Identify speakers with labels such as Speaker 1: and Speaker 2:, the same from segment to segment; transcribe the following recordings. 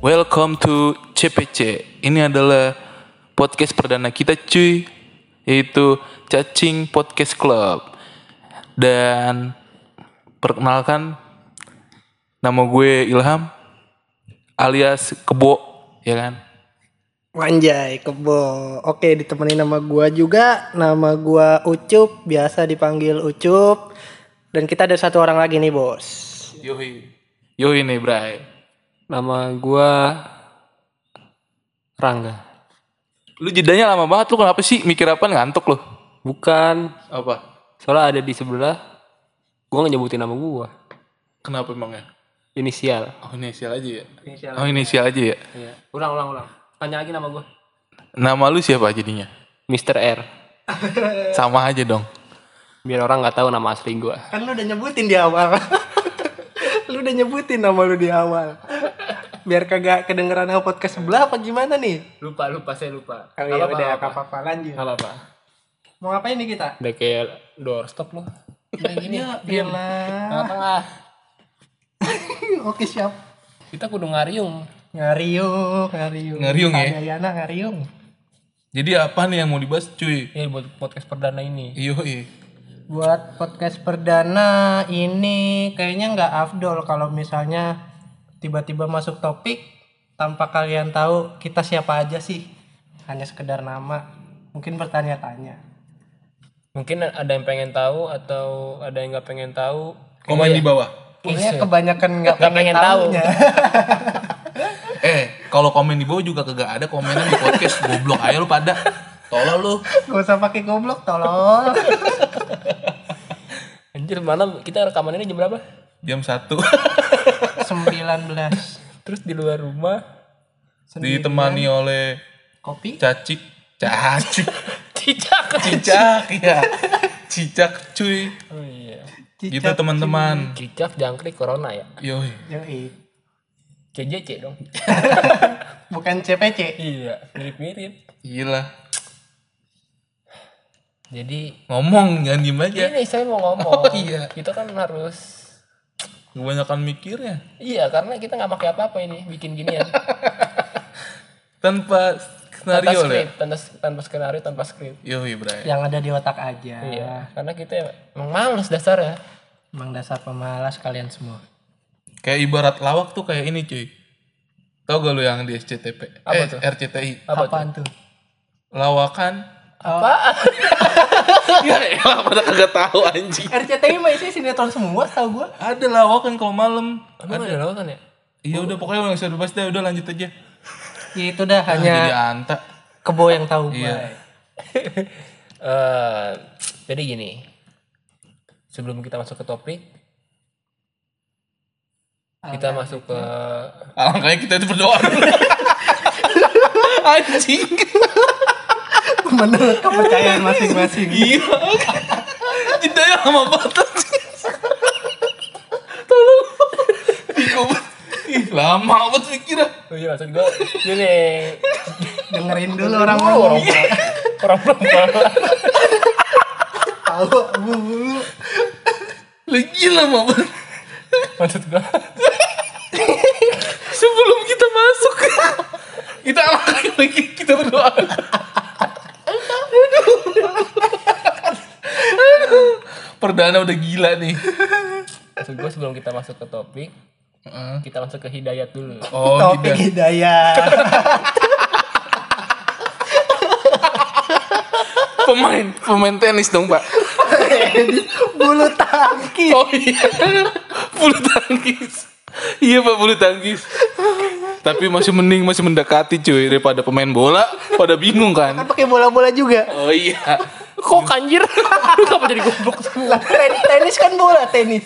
Speaker 1: Welcome to CPC. Ini adalah podcast perdana kita cuy. Yaitu Cacing Podcast Club. Dan perkenalkan nama gue Ilham alias Kebo ya kan.
Speaker 2: Wanjay, kebo. Oke, ditemani nama gua juga. Nama gua Ucup, biasa dipanggil Ucup. Dan kita ada satu orang lagi nih, Bos.
Speaker 1: Yoi. Yoi nih, Bray.
Speaker 3: Nama gua Rangga.
Speaker 1: Lu jedanya lama banget lu kenapa sih mikir apa ngantuk lu?
Speaker 3: Bukan,
Speaker 1: Apa?
Speaker 3: soalnya ada di sebelah. Gua nggak nyebutin nama gua.
Speaker 1: Kenapa emangnya?
Speaker 3: Inisial.
Speaker 1: Oh inisial aja ya.
Speaker 3: Inisial.
Speaker 1: Oh inisial aja ya.
Speaker 3: Iya. Ulang, ulang, ulang. Tanya lagi nama gua.
Speaker 1: Nama lu siapa jadinya?
Speaker 3: Mr. R.
Speaker 1: Sama aja dong.
Speaker 3: Biar orang nggak tahu nama asli gua.
Speaker 2: Kan lu udah nyebutin di awal. lu udah nyebutin nama lu di awal. Biar kagak kedengeran sama podcast sebelah apa gimana nih?
Speaker 3: Lupa, lupa, saya lupa.
Speaker 2: Oh, ya udah, nggak apa-apa lanjut.
Speaker 3: Kalau apa?
Speaker 2: Mau ngapain nih kita?
Speaker 3: Udah kayak doorstop lu.
Speaker 2: Ya gini, biarlah.
Speaker 3: Tengah-tengah.
Speaker 2: Oke, siap.
Speaker 3: Kita kudu ngariung.
Speaker 2: Ngariung, ngariung.
Speaker 1: Ngariung ya?
Speaker 2: Ayana ngariung.
Speaker 1: Jadi apa nih yang mau dibahas cuy?
Speaker 3: Ya buat podcast perdana ini.
Speaker 1: Yoi.
Speaker 2: Buat podcast perdana ini kayaknya nggak afdol kalau misalnya tiba-tiba masuk topik tanpa kalian tahu kita siapa aja sih. Hanya sekedar nama. Mungkin bertanya-tanya.
Speaker 3: Mungkin ada yang pengen tahu atau ada yang nggak pengen tahu.
Speaker 1: Komen di bawah.
Speaker 2: Kayaknya kebanyakan nggak ya.
Speaker 3: Nggak pengen tahu.
Speaker 2: tahunya.
Speaker 1: Eh, kalau komen di bawah juga kagak ada komenan di podcast goblok aja lu pada. Tolol lu.
Speaker 2: Gak usah pakai goblok tolong.
Speaker 3: Anjir, malam kita rekaman ini jam berapa?
Speaker 1: Jam 1
Speaker 2: 19
Speaker 3: Terus di luar rumah
Speaker 1: ditemani oleh
Speaker 2: kopi.
Speaker 1: cacik, cacik,
Speaker 3: cicak.
Speaker 1: cicak ya. Cicak cuy.
Speaker 3: Oh iya.
Speaker 1: Gitu teman-teman.
Speaker 3: Cicak jangkrik corona ya.
Speaker 1: Yoi.
Speaker 2: Yoi.
Speaker 3: CJC dong.
Speaker 2: Bukan CPC.
Speaker 3: iya, mirip-mirip.
Speaker 1: Gila.
Speaker 3: Jadi
Speaker 1: Ngomong jangan diem aja.
Speaker 3: ini saya mau
Speaker 1: Iya. Oh,
Speaker 3: ngomong.
Speaker 1: iya.
Speaker 3: Kita kan harus
Speaker 1: Kebanyakan mikirnya.
Speaker 3: Iya, karena kita nggak pakai apa-apa ini bikin ginian.
Speaker 1: Tanpa
Speaker 3: tanpa
Speaker 1: skenario ya.
Speaker 3: skrip, tanpa, tanpa skenario, tanpa skrip.
Speaker 1: Yoi, Bray.
Speaker 2: Yang ada di otak aja.
Speaker 3: Iya, karena kita emang males dasarnya.
Speaker 2: Emang dasar pemalas kalian semua.
Speaker 1: Kayak ibarat lawak tuh kayak ini cuy. Tau gak lu yang di SCTP?
Speaker 3: Apa
Speaker 1: eh,
Speaker 3: tuh?
Speaker 1: RCTI.
Speaker 3: Apa tuh?
Speaker 2: Apaan tuh? Oh,
Speaker 1: Lawakan.
Speaker 3: Apaan?
Speaker 1: ya elah pada kagak tahu anjing.
Speaker 2: RCTI mah isinya sinetron semua tau gue
Speaker 1: Ada lawakan kalau malam.
Speaker 3: Emang ada lawakan ya?
Speaker 1: Iya udah pokoknya nggak usah dibahas deh, udah lanjut aja.
Speaker 2: ya itu dah hanya
Speaker 1: Jadi anta. Iya.
Speaker 2: kebo yang tahu gue
Speaker 3: Iya. Eh, jadi gini. Sebelum kita masuk ke topik, kita masuk ke
Speaker 1: Alangkahnya kita itu berdoa. anjing.
Speaker 2: menurut kepercayaan masing-masing
Speaker 1: Iya. Cinta yang lama banget. anjing. Tolong. Ih, lama banget mikirnya.
Speaker 3: Oh iya maksud gue gini
Speaker 2: dengerin dulu orang
Speaker 3: orang
Speaker 2: ngomong
Speaker 3: orang perempuan
Speaker 2: tahu bu, bu.
Speaker 1: Lagi lama banget.
Speaker 3: maksud gue
Speaker 1: Sebelum kita masuk. kita alangkahnya lagi kita berdoa. Perdana udah gila nih.
Speaker 3: maksud gue sebelum kita masuk ke topik
Speaker 1: Heeh.
Speaker 3: kita masuk ke hidayat dulu
Speaker 1: Oh,
Speaker 2: topik
Speaker 1: tidak.
Speaker 2: hidayah
Speaker 1: Pemain, pemain tenis dong, Pak.
Speaker 2: bulu tangkis
Speaker 1: Oh iya. Bulu tangkis. Iya, Pak, bulu tangkis. Tapi masih mending masih mendekati cuy daripada pemain bola pada bingung
Speaker 2: kan
Speaker 1: kan.
Speaker 2: pakai bola-bola juga
Speaker 1: Oh iya.
Speaker 3: kok kanjir lu kenapa jadi goblok semua
Speaker 2: lah ten- tenis kan bola tenis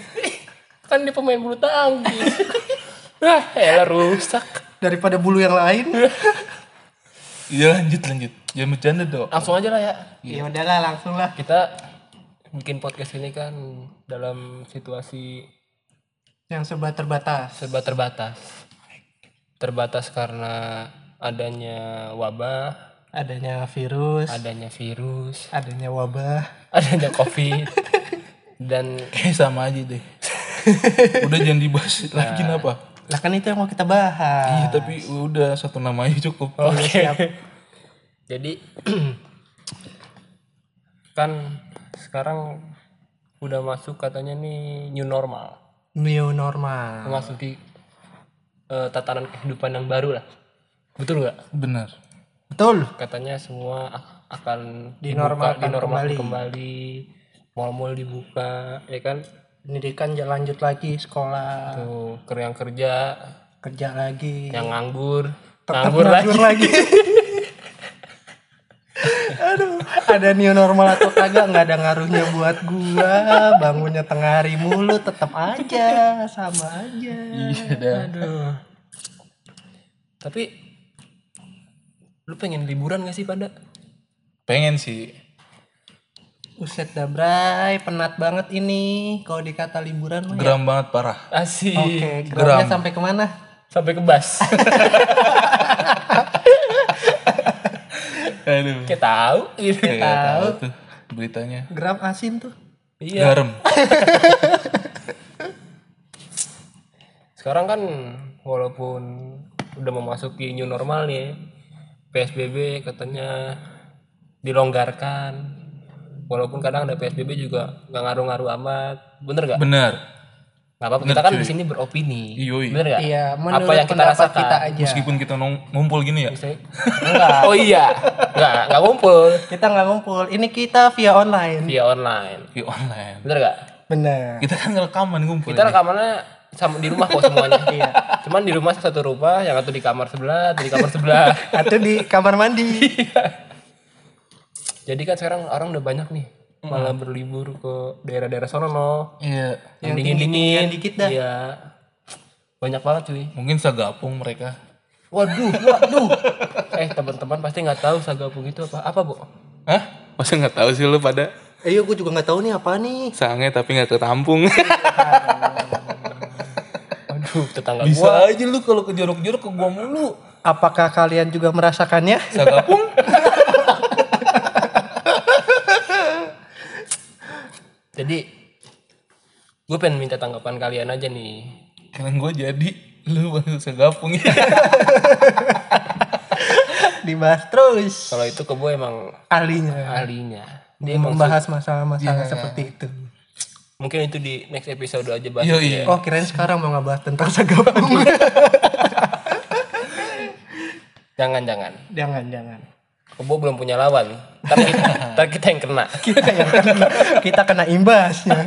Speaker 3: kan dia pemain bulu tangkis ah elah rusak
Speaker 2: daripada bulu yang lain
Speaker 1: Iya, lanjut lanjut. Jangan bercanda dong.
Speaker 3: langsung aja lah ya
Speaker 2: ya udahlah langsung lah
Speaker 3: kita bikin podcast ini kan dalam situasi
Speaker 2: yang serba terbatas
Speaker 3: serba terbatas terbatas karena adanya wabah
Speaker 2: adanya virus
Speaker 3: adanya virus
Speaker 2: adanya wabah
Speaker 3: adanya covid dan
Speaker 1: Eh sama aja deh. Udah jangan dibahas lagi kenapa?
Speaker 2: Nah kan itu yang mau kita bahas.
Speaker 1: Iya, tapi udah satu nama aja cukup.
Speaker 2: Oke. Siap.
Speaker 3: Jadi kan sekarang udah masuk katanya nih new normal,
Speaker 2: New normal.
Speaker 3: memasuki eh, tatanan kehidupan yang baru lah. Betul nggak?
Speaker 1: Benar.
Speaker 2: Betul.
Speaker 3: Katanya semua ak- akan dibuka,
Speaker 2: Dinormalkan kembali.
Speaker 3: dinormalkan kembali. mal-mal dibuka, ya kan?
Speaker 2: Pendidikan ja- lanjut lagi, sekolah,
Speaker 3: Tuh, ker- yang kerja,
Speaker 2: kerja lagi.
Speaker 3: yang nganggur,
Speaker 2: tetap
Speaker 3: nganggur lagi.
Speaker 2: nganggur lagi. Aduh, ada new normal atau kagak nggak ada ngaruhnya buat gua. Bangunnya tengah hari mulu tetap aja sama aja.
Speaker 3: Aduh. Tapi lu pengen liburan gak sih pada?
Speaker 1: Pengen sih.
Speaker 2: Uset dah bray, penat banget ini. Kalau dikata liburan mah ya.
Speaker 1: Geram banget parah.
Speaker 3: Asik.
Speaker 2: Oke, geramnya sampai kemana?
Speaker 3: Sampai ke bas.
Speaker 1: Aduh.
Speaker 3: Kayak tahu gitu.
Speaker 1: Kayak Iya, tahu tuh beritanya.
Speaker 2: Geram asin tuh.
Speaker 3: Iya.
Speaker 1: Garam.
Speaker 3: Sekarang kan walaupun udah memasuki new normal nih, PSBB katanya dilonggarkan. Walaupun kadang ada PSBB juga nggak ngaruh-ngaruh amat. Bener gak?
Speaker 1: Benar.
Speaker 3: Gak apa-apa, kita kan di sini beropini.
Speaker 1: Iya, iya.
Speaker 3: Bener gak?
Speaker 2: Iya, menurut
Speaker 3: apa yang kita
Speaker 2: pendapat
Speaker 3: rasakan.
Speaker 2: kita aja.
Speaker 1: Meskipun kita nong- ngumpul gini ya.
Speaker 3: Misalnya- oh iya. Enggak, enggak ngumpul
Speaker 2: Kita nggak ngumpul. Ini kita via online.
Speaker 3: via online.
Speaker 1: Di online.
Speaker 3: Bener gak?
Speaker 2: Oh Bener.
Speaker 1: Kita kan ngerekaman ngumpul.
Speaker 3: Kita rekamannya sama di rumah kok semuanya. iya. Cuman di rumah satu rumah, yang satu di kamar sebelah, satu di kamar sebelah.
Speaker 2: Atau di kamar mandi.
Speaker 3: Jadi kan sekarang orang udah banyak nih malah berlibur ke daerah-daerah sono no.
Speaker 1: Iya.
Speaker 3: Yang dingin-dingin
Speaker 2: dikit dah.
Speaker 3: Iya. Banyak banget cuy.
Speaker 1: Mungkin sagapung mereka.
Speaker 3: Waduh, waduh. eh, teman-teman pasti nggak tahu sagapung itu apa. Apa, Bu?
Speaker 1: Hah? Masa nggak tahu sih lu pada
Speaker 2: Eh, iya, gua juga nggak tahu nih apa nih.
Speaker 1: sange tapi nggak ketampung.
Speaker 3: Aduh, tetangga gua.
Speaker 1: Bisa aja lu kalau ke jorok-jorok ke gua mulu.
Speaker 2: Apakah kalian juga merasakannya?
Speaker 1: Sagapung.
Speaker 3: Jadi gue pengen minta tanggapan kalian aja nih.
Speaker 1: Kalian gua jadi lu masuk sagapung ya.
Speaker 2: Dibahas terus
Speaker 3: Kalau itu ke gue emang
Speaker 2: ahlinya
Speaker 3: ahlinya. Dia emang
Speaker 2: membahas masalah-masalah seperti itu.
Speaker 3: mungkin itu di next episode aja bahas.
Speaker 1: Yo iya.
Speaker 2: Oh, kirain sekarang mau ngebahas tentang sagapung.
Speaker 3: Jangan jangan.
Speaker 2: jangan, jangan.
Speaker 3: Kebo belum punya lawan. Ntar kita, ntar kita yang kena.
Speaker 2: Kita yang kena, Iya, kita kena imbasnya.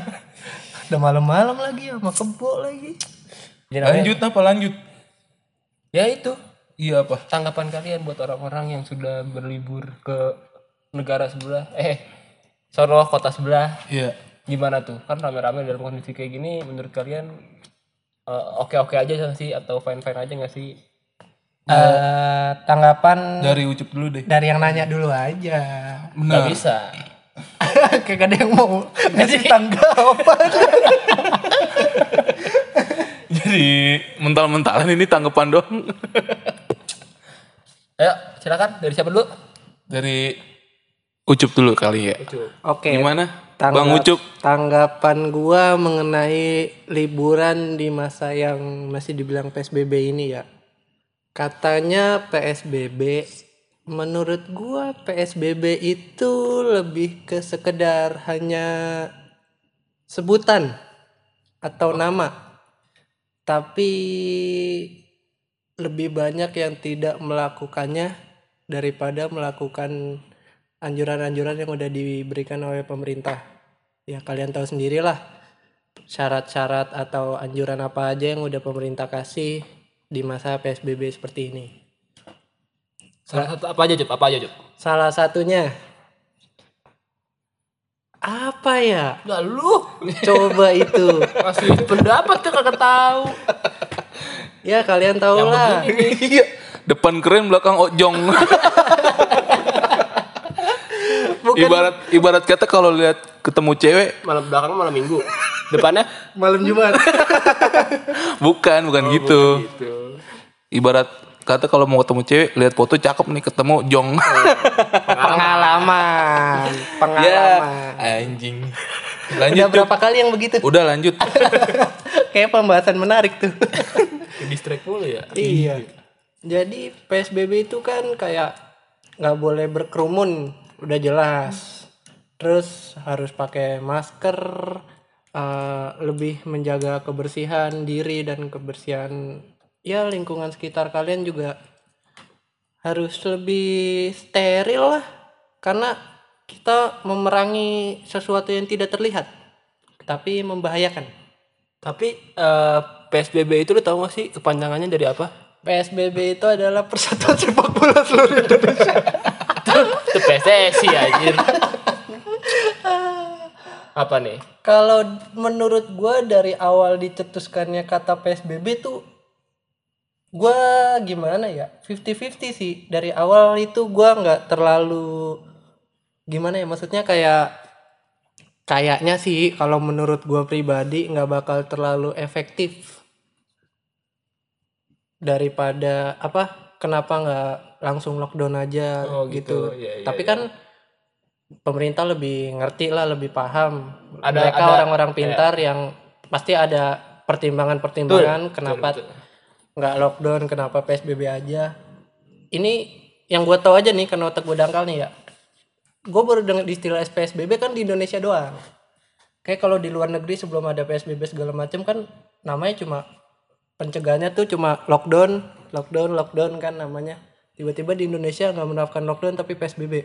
Speaker 2: Udah malam-malam lagi sama kebo lagi.
Speaker 3: Jadi namanya-
Speaker 1: Lanjut apa lanjut?
Speaker 3: ya itu
Speaker 1: Iya apa?
Speaker 3: tanggapan kalian buat orang-orang yang sudah berlibur ke negara sebelah. Eh, sono kota sebelah.
Speaker 1: Iya.
Speaker 3: Gimana tuh? Kan rame-rame dalam kondisi kayak gini menurut kalian eh, oke-oke aja nggak sih atau fine-fine aja nggak sih?
Speaker 2: Eh, tanggapan
Speaker 1: Dari ucup dulu deh.
Speaker 2: dari yang nanya dulu aja.
Speaker 3: Nggak
Speaker 1: Benar.
Speaker 3: bisa.
Speaker 2: Kayak gak ada yang mau ngasih tanggapan.
Speaker 1: Jadi mental-mentalan ini tanggapan doang.
Speaker 3: Ayo, silakan dari siapa dulu?
Speaker 1: Dari Ucup dulu kali ya.
Speaker 2: Oke.
Speaker 1: Gimana?
Speaker 2: Tanggap-
Speaker 1: Bang Ucup.
Speaker 2: Tanggapan gua mengenai liburan di masa yang masih dibilang PSBB ini ya. Katanya PSBB menurut gua PSBB itu lebih ke sekedar hanya sebutan atau nama. Tapi lebih banyak yang tidak melakukannya daripada melakukan anjuran-anjuran yang udah diberikan oleh pemerintah. Ya kalian tahu sendirilah syarat-syarat atau anjuran apa aja yang udah pemerintah kasih di masa PSBB seperti ini.
Speaker 3: Salah satu apa aja, Jup? Apa aja, Jup?
Speaker 2: Salah satunya apa ya?
Speaker 3: Enggak lu.
Speaker 2: Coba itu.
Speaker 3: Masih pendapat tuh kagak tahu.
Speaker 2: Ya kalian tahu lah.
Speaker 1: Iya. Depan keren, belakang ojong. Ibarat ibarat kata kalau lihat ketemu cewek,
Speaker 3: Malam belakang malam Minggu. Depannya
Speaker 2: Malam Jumat.
Speaker 1: bukan, bukan gitu. Ibarat kata kalau mau ketemu cewek, lihat foto cakep nih ketemu jong. ya,
Speaker 2: Pengalaman. Pengalaman.
Speaker 1: anjing.
Speaker 2: Udah
Speaker 1: Lanjut. Udah,
Speaker 2: berapa kali yang begitu?
Speaker 1: Udah lanjut.
Speaker 2: Kayak pembahasan menarik tuh.
Speaker 3: Ke distract mulu ya.
Speaker 2: Iya. Jadi PSBB itu kan kayak nggak boleh berkerumun, udah jelas. Terus harus pakai masker, eh, lebih menjaga kebersihan diri dan kebersihan ya lingkungan sekitar kalian juga harus lebih steril lah karena kita memerangi sesuatu yang tidak terlihat tapi membahayakan.
Speaker 3: Tapi eh, PSBB itu lu tahu gak sih kepanjangannya dari apa?
Speaker 2: PSBB itu adalah persatuan sepak bola seluruh Indonesia.
Speaker 3: Itu PSSI anjir. apa nih?
Speaker 2: Kalau menurut gua dari awal dicetuskannya kata PSBB tuh gua gimana ya 50-50 sih dari awal itu gua nggak terlalu gimana ya maksudnya kayak kayaknya sih kalau menurut gua pribadi nggak bakal terlalu efektif daripada apa kenapa nggak langsung lockdown aja
Speaker 3: Oh, gitu.
Speaker 2: gitu,
Speaker 3: Iya, iya,
Speaker 2: tapi kan pemerintah lebih ngerti lah lebih paham
Speaker 3: Ada-
Speaker 2: mereka
Speaker 3: ada- ya.
Speaker 2: orang-orang pintar yang pasti ada pertimbangan-pertimbangan kenapa
Speaker 3: betul.
Speaker 2: nggak lockdown kenapa psbb aja ini yang gue tahu aja nih karena otak gue dangkal nih ya gue baru dengar di istilah psbb kan di Indonesia doang kayak kalau di luar negeri sebelum ada psbb segala macam kan namanya cuma pencegahannya tuh cuma lockdown lockdown lockdown kan namanya tiba-tiba di Indonesia nggak menerapkan lockdown tapi psbb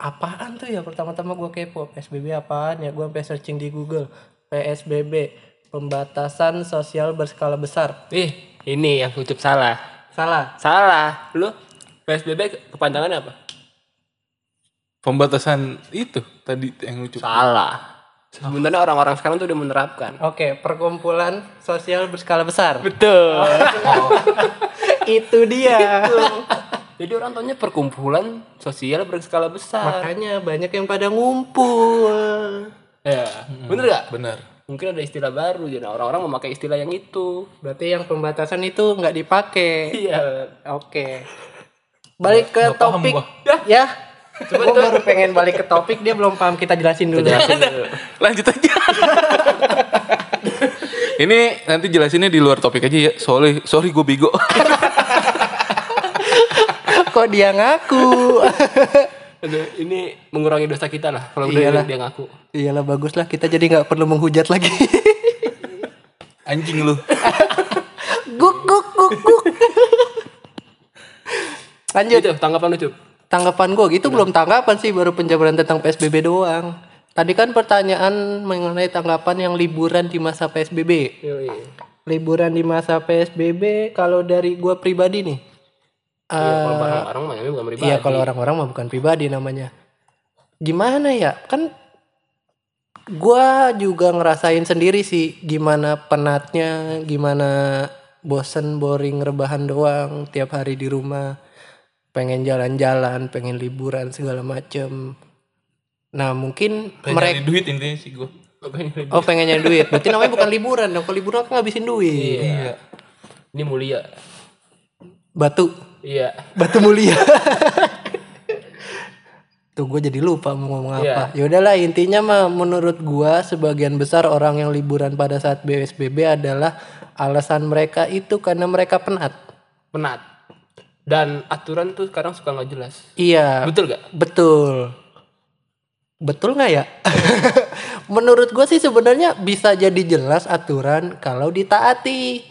Speaker 2: apaan tuh ya pertama-tama gue kepo PSBB apaan ya gue sampai searching di Google PSBB pembatasan sosial berskala besar
Speaker 3: Ih, ini yang ucup salah.
Speaker 2: salah
Speaker 3: Salah. Lu PSBB ke- kepanjangannya apa?
Speaker 1: Pembatasan itu tadi yang lucu.
Speaker 3: Salah. Sebenarnya orang-orang sekarang tuh udah menerapkan.
Speaker 2: oke perkumpulan sosial berskala besar
Speaker 3: Betul.
Speaker 2: itu dia
Speaker 3: Jadi orang taunya perkumpulan sosial berskala besar.
Speaker 2: makanya banyak yang pada ngumpul
Speaker 3: Ya, bener gak?
Speaker 1: Benar.
Speaker 3: Mungkin ada istilah baru, jadi orang-orang memakai istilah yang itu.
Speaker 2: berarti yang pembatasan itu nggak dipakai
Speaker 3: Iya.
Speaker 2: Oke. Balik ke
Speaker 1: Nggak paham
Speaker 2: topik.
Speaker 1: gua.
Speaker 2: Ya. Coba gua baru pengen balik ke topik dia belum paham kita jelasin dulu.
Speaker 1: Lanjut aja. Ini nanti jelasinnya di luar topik aja ya. Sorry, sorry gue bego.
Speaker 2: Kok dia ngaku?
Speaker 3: Aduh, ini mengurangi dosa kita lah kalau udah
Speaker 2: Iyalah.
Speaker 3: dia ngaku.
Speaker 2: Iyalah baguslah kita jadi nggak perlu menghujat lagi.
Speaker 1: Anjing lu.
Speaker 2: guk guk guk guk. Lanjut.
Speaker 3: Itu Iya, tanggapan lucu.
Speaker 2: Tanggapan gua gitu belum tanggapan sih baru penjabaran tentang PSBB doang. Tadi kan pertanyaan mengenai tanggapan yang liburan di masa PSBB.
Speaker 3: Iya,
Speaker 2: liburan di masa PSBB kalau dari gua pribadi nih
Speaker 3: Iya, kalau barang-barang mah bukan pribadi.
Speaker 2: iya kalau orang-orang mah bukan pribadi namanya gimana ya kan gua juga ngerasain sendiri sih gimana penatnya gimana bosen boring rebahan doang tiap hari di rumah pengen jalan-jalan pengen liburan segala macem nah mungkin
Speaker 1: Mereka
Speaker 2: mereka
Speaker 1: duit intinya sih gue.
Speaker 2: oh pengen nyari duit berarti namanya bukan liburan dong kalau liburan kan ngabisin duit
Speaker 3: Iya. Ini mulia.
Speaker 2: batu
Speaker 3: Iya.
Speaker 2: Batu mulia. Tuh gue jadi lupa mau ngomong apa. Ya udahlah intinya mah menurut gua sebagian besar orang yang liburan pada saat BSBB adalah alasan mereka itu karena mereka penat.
Speaker 3: Penat. Dan aturan tuh sekarang suka nggak jelas.
Speaker 2: Iya.
Speaker 3: Betul gak?
Speaker 2: Betul. Betul nggak ya? Menurut gue sih sebenarnya bisa jadi jelas aturan kalau ditaati.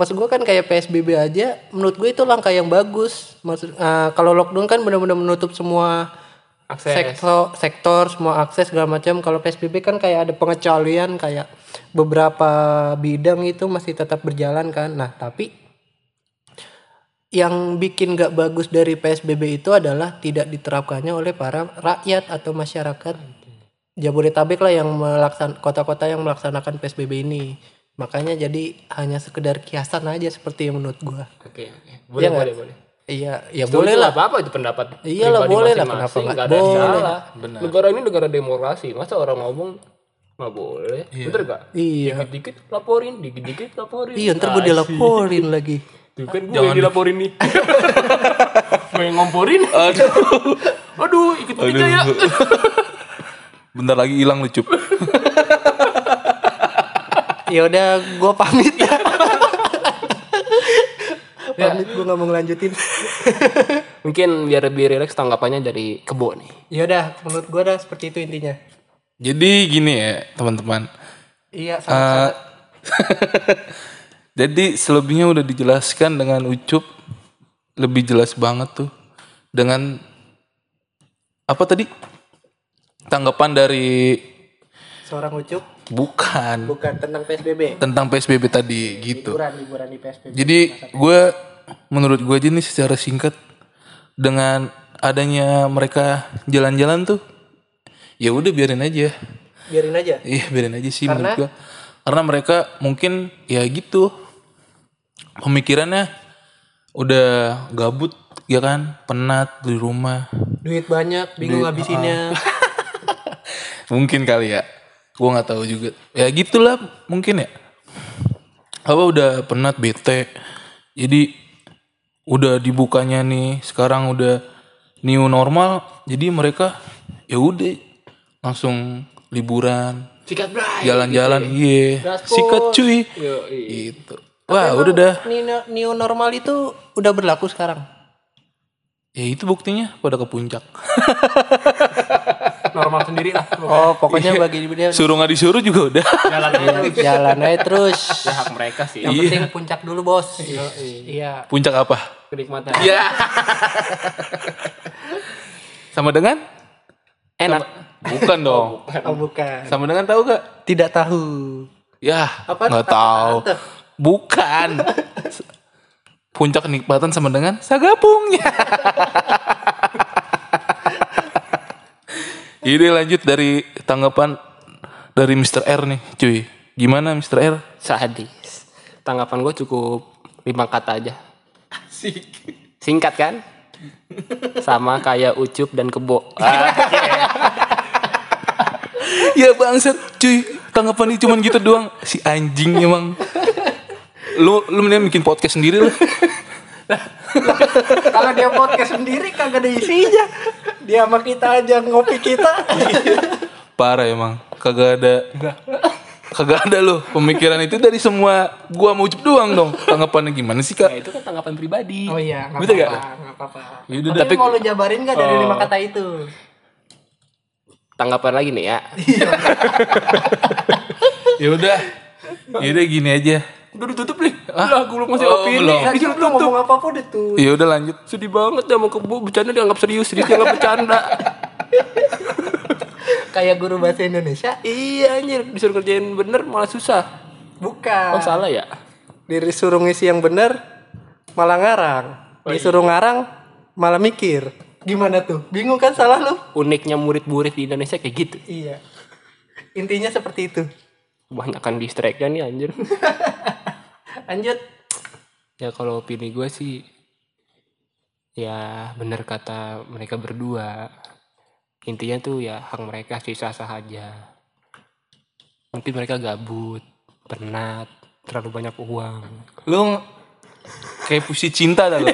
Speaker 2: Maksud gue kan kayak PSBB aja, menurut gue itu langkah yang bagus. Maksud eh, kalau lockdown kan benar-benar menutup semua
Speaker 3: Akses.
Speaker 2: sektor, sektor, semua akses segala macam. Kalau PSBB kan kayak ada pengecualian kayak beberapa bidang itu masih tetap berjalan kan. Nah, tapi yang bikin gak bagus dari PSBB itu adalah tidak diterapkannya oleh para rakyat atau masyarakat Jabodetabek lah yang melaksan kota-kota yang melaksanakan PSBB ini. Makanya jadi hanya sekedar kiasan aja seperti yang menurut gua.
Speaker 3: Oke, oke. Boleh,
Speaker 2: Iya nggak?
Speaker 3: boleh, boleh.
Speaker 2: Iya, ya
Speaker 3: Setuju
Speaker 2: boleh lah.
Speaker 3: apa-apa itu pendapat.
Speaker 2: Iyalah,
Speaker 3: pribadi
Speaker 2: boleh lah,
Speaker 3: masing-masing,
Speaker 2: kenapa nggak
Speaker 3: nggak ada yang
Speaker 2: boleh?
Speaker 3: salah. Negara ini negara demokrasi. Masa orang ngomong nggak boleh? Bener gak?
Speaker 2: Iya.
Speaker 3: Dikit-dikit laporin, dikit-dikit laporin. Nah,
Speaker 2: Iya, ntar gue dilaporin lagi.
Speaker 3: Tuh kan gue yang dilaporin nih. gue yang ngomporin.
Speaker 1: Aduh.
Speaker 3: Aduh, ikut aja ya.
Speaker 1: Bentar lagi hilang lucu.
Speaker 2: ya udah gue pamit pamit gue nggak mau ngelanjutin
Speaker 3: Mungkin biar lebih rileks tanggapannya dari kebo nih.
Speaker 2: yaudah Ya menurut gue dah seperti itu intinya
Speaker 1: Jadi gini ya teman-teman. Eh,
Speaker 2: iya sama
Speaker 1: Jadi selebihnya udah dijelaskan dengan ucup lebih jelas banget tuh dengan apa tadi tanggapan dari
Speaker 2: seorang ucup
Speaker 1: bukan
Speaker 2: bukan tentang psbb
Speaker 1: tentang PSBB tadi gitu.
Speaker 2: liburan liburan di psbb
Speaker 1: Jadi gue menurut gue aja nih secara singkat dengan adanya mereka jalan-jalan tuh ya udah biarin aja.
Speaker 2: biarin aja
Speaker 1: Iya biarin aja sih menurut gue. Karena mereka mungkin ya gitu pemikirannya udah gabut ya kan penat di rumah
Speaker 2: duit ah. banyak bingung habisinnya
Speaker 1: mungkin kali ya gue nggak tahu juga ya gitulah mungkin ya apa udah penat bete jadi udah dibukanya nih sekarang udah new normal jadi mereka ya udah langsung liburan
Speaker 3: Sikat bray.
Speaker 1: jalan-jalan iya sikat cuy gitu wah udah dah
Speaker 2: Ini no- new normal itu udah berlaku sekarang
Speaker 1: ya itu buktinya pada ke puncak
Speaker 3: Normal sendiri lah.
Speaker 2: oh pokoknya bagi dia
Speaker 1: suruh nggak disuruh juga udah
Speaker 3: Jalan aja.
Speaker 2: Iya, jalan aja terus
Speaker 3: Hak mereka sih.
Speaker 2: yang penting puncak dulu bos iya
Speaker 1: puncak apa
Speaker 3: Kenikmatan.
Speaker 1: sama dengan
Speaker 3: Enak.
Speaker 1: Nah, bukan dong
Speaker 2: oh bukan
Speaker 1: sama dengan tahu gak
Speaker 2: tidak tahu
Speaker 1: Ya,
Speaker 2: Apa?
Speaker 1: nggak tahu. Bukan. Puncak kenikmatan sama dengan sagapungnya. Ini lanjut dari tanggapan dari Mr. R nih, cuy. Gimana Mr. R?
Speaker 3: Sadis. Tanggapan gue cukup lima kata aja. Singkat kan? Sama kayak ucup dan kebo. Ah,
Speaker 1: ya bangsat, cuy. Tanggapan ini cuman gitu doang. Si anjing emang. Lu lu mendingan bikin podcast sendiri lah.
Speaker 2: kalau dia podcast sendiri kagak ada isinya dia sama kita aja ngopi kita
Speaker 1: Parah emang. Kagak ada. Kagak ada loh pemikiran itu dari semua gua mau ucup doang dong. Tanggapannya gimana sih, Kak?
Speaker 3: Nah, itu kan tanggapan pribadi.
Speaker 2: oh iya nggak
Speaker 1: Betul nggak?
Speaker 2: apa-apa nggak apa-apa
Speaker 1: Yaudah,
Speaker 2: tapi,
Speaker 1: tapi-
Speaker 2: mau lu jabarin gak dari lima kata itu
Speaker 3: Tanggapan lagi nih ya.
Speaker 1: ya udah ya udah gini aja
Speaker 3: Udah ditutup nih. Lah, gue belum ngasih
Speaker 1: Oh, belum.
Speaker 2: Lagi lu ngomong apa pun itu
Speaker 1: ya udah lanjut
Speaker 3: Sedih banget dah mau kebo bercanda dianggap serius, serius dianggap bercanda.
Speaker 2: kayak guru bahasa Indonesia
Speaker 3: iya anjir, disuruh kerjain bener malah susah.
Speaker 2: bukan
Speaker 3: Oh, salah ya?
Speaker 2: disuruh ngisi yang bener malah ngarang disuruh ngarang malah mikir gimana tuh bingung kan salah lu
Speaker 3: Uniknya murid-murid di Indonesia kayak gitu.
Speaker 2: iya intinya seperti itu
Speaker 3: Kebanyakan distracknya kan nih anjir.
Speaker 2: lanjut
Speaker 3: ya kalau opini gue sih ya bener kata mereka berdua intinya tuh ya hak mereka sih sah sah aja mungkin mereka gabut penat terlalu banyak uang
Speaker 1: lu ng- kayak puisi cinta dah lu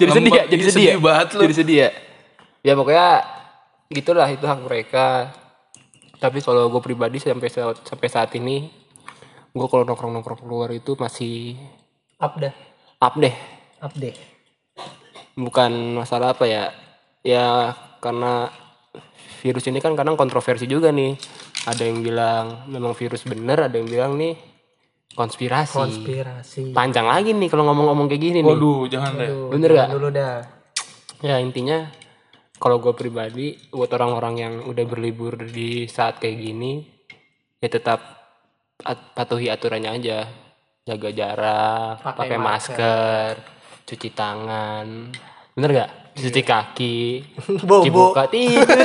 Speaker 3: jadi sedih ya
Speaker 1: Lembab,
Speaker 3: jadi
Speaker 1: iya,
Speaker 3: sedih ya
Speaker 1: sedih banget lu.
Speaker 3: jadi sedih ya ya pokoknya gitulah itu hak mereka tapi kalau gue pribadi sampai saat- sampai saat ini gue kalau nongkrong nongkrong keluar itu masih
Speaker 2: up dah
Speaker 3: up deh
Speaker 2: up deh
Speaker 3: bukan masalah apa ya ya karena virus ini kan kadang kontroversi juga nih ada yang bilang memang virus bener ada yang bilang nih konspirasi
Speaker 2: konspirasi
Speaker 3: panjang lagi nih kalau ngomong-ngomong kayak gini nih
Speaker 1: waduh jangan deh
Speaker 3: bener gak
Speaker 2: dulu dah
Speaker 3: ya intinya kalau gue pribadi buat orang-orang yang udah berlibur di saat kayak gini ya tetap at- patuhi aturannya aja jaga jarak pakai masker cuci tangan bener gak cuci kaki
Speaker 2: Bobo.
Speaker 3: cuci muka tidur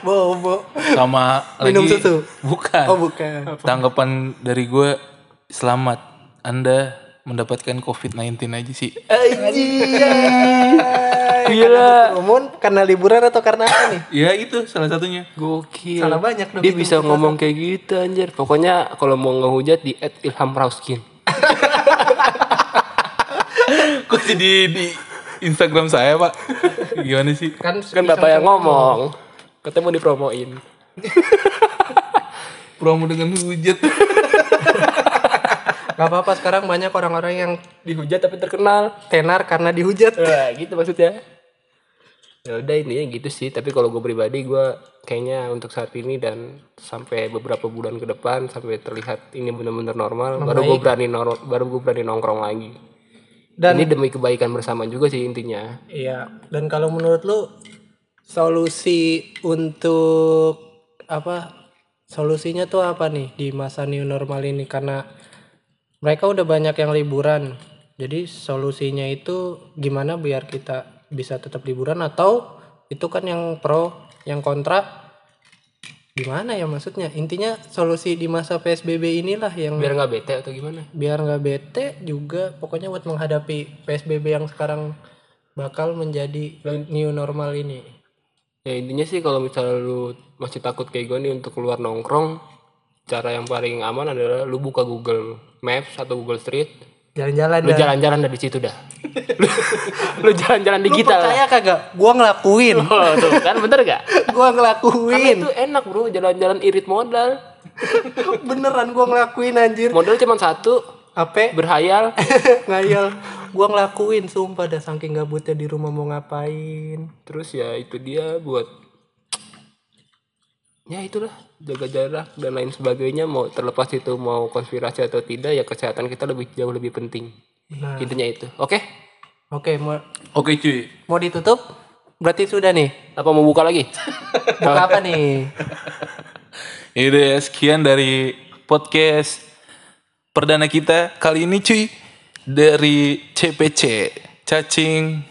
Speaker 2: bobo
Speaker 1: sama
Speaker 2: Minum
Speaker 1: lagi
Speaker 2: susu.
Speaker 1: bukan
Speaker 2: oh bukan
Speaker 1: tanggapan dari gue selamat anda mendapatkan covid 19 aja sih
Speaker 2: Gila. Namun karena liburan atau karena apa nih?
Speaker 1: ya itu salah satunya
Speaker 3: gokil
Speaker 2: Salah banyak dong
Speaker 3: dia
Speaker 2: itu.
Speaker 3: bisa ngomong kayak gitu anjir pokoknya kalau mau ngehujat di at ilham rauskin
Speaker 1: kok jadi di Instagram saya pak gimana sih
Speaker 2: Kan
Speaker 3: kan bapak yang ngomong ketemu dipromoin
Speaker 1: promo dengan hujat
Speaker 2: Gak apa-apa sekarang banyak orang-orang yang
Speaker 3: dihujat tapi terkenal
Speaker 2: tenar karena dihujat.
Speaker 3: Wah, gitu maksudnya. Ya udah intinya gitu sih, tapi kalau gue pribadi gue kayaknya untuk saat ini dan sampai beberapa bulan ke depan sampai terlihat ini benar-benar normal, baru gue berani nor- baru gue berani nongkrong lagi.
Speaker 2: Dan-
Speaker 3: ini demi kebaikan bersama juga sih intinya.
Speaker 2: Iya. Dan kalau menurut lu solusi untuk apa? Solusinya tuh apa nih di masa new normal ini karena mereka udah banyak yang liburan. Jadi solusinya itu gimana biar kita bisa tetap liburan atau itu kan yang pro, yang kontra gimana ya maksudnya? Intinya solusi di masa PSBB inilah yang
Speaker 3: Biar nggak bete atau gimana?
Speaker 2: biar nggak bete juga pokoknya buat menghadapi PSBB yang sekarang bakal menjadi new normal ini
Speaker 3: Ya intinya sih kalau misalnya lu masih takut kayak gue nih untuk keluar nongkrong, cara yang paling aman adalah lu buka Google Maps atau Google Street,
Speaker 2: jalan-jalan
Speaker 3: lu
Speaker 2: dah.
Speaker 3: jalan-jalan dari situ dah. Lu- lu jalan-jalan
Speaker 2: Lu
Speaker 3: digital.
Speaker 2: percaya kagak gua ngelakuin
Speaker 3: Oh, tuh kan bener gak?
Speaker 2: gua ngelakuin
Speaker 3: Itu enak bro, jalan-jalan irit modal.
Speaker 2: beneran gua ngelakuin anjir
Speaker 3: Modal cuma satu,
Speaker 2: apa
Speaker 3: berhayal.
Speaker 2: ngayal gua ngelakuin sumpah dah saking gabutnya di rumah mau ngapain
Speaker 3: Terus ya itu dia buat ya itulah jaga jarak dan lain sebagainya mau terlepas itu mau konspirasi atau tidak ya kesehatan kita lebih jauh lebih penting
Speaker 2: nah
Speaker 3: intinya itu oke
Speaker 2: oke mau
Speaker 1: Oke cuy.
Speaker 2: mau ditutup berarti sudah nih
Speaker 3: apa mau buka lagi
Speaker 2: buka apa nih
Speaker 1: Yaudah ya, sekian dari podcast perdana kita kali ini cuy dari CPC Cacing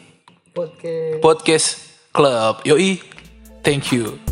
Speaker 2: oke
Speaker 1: Podcast Club. Yoi, thank you.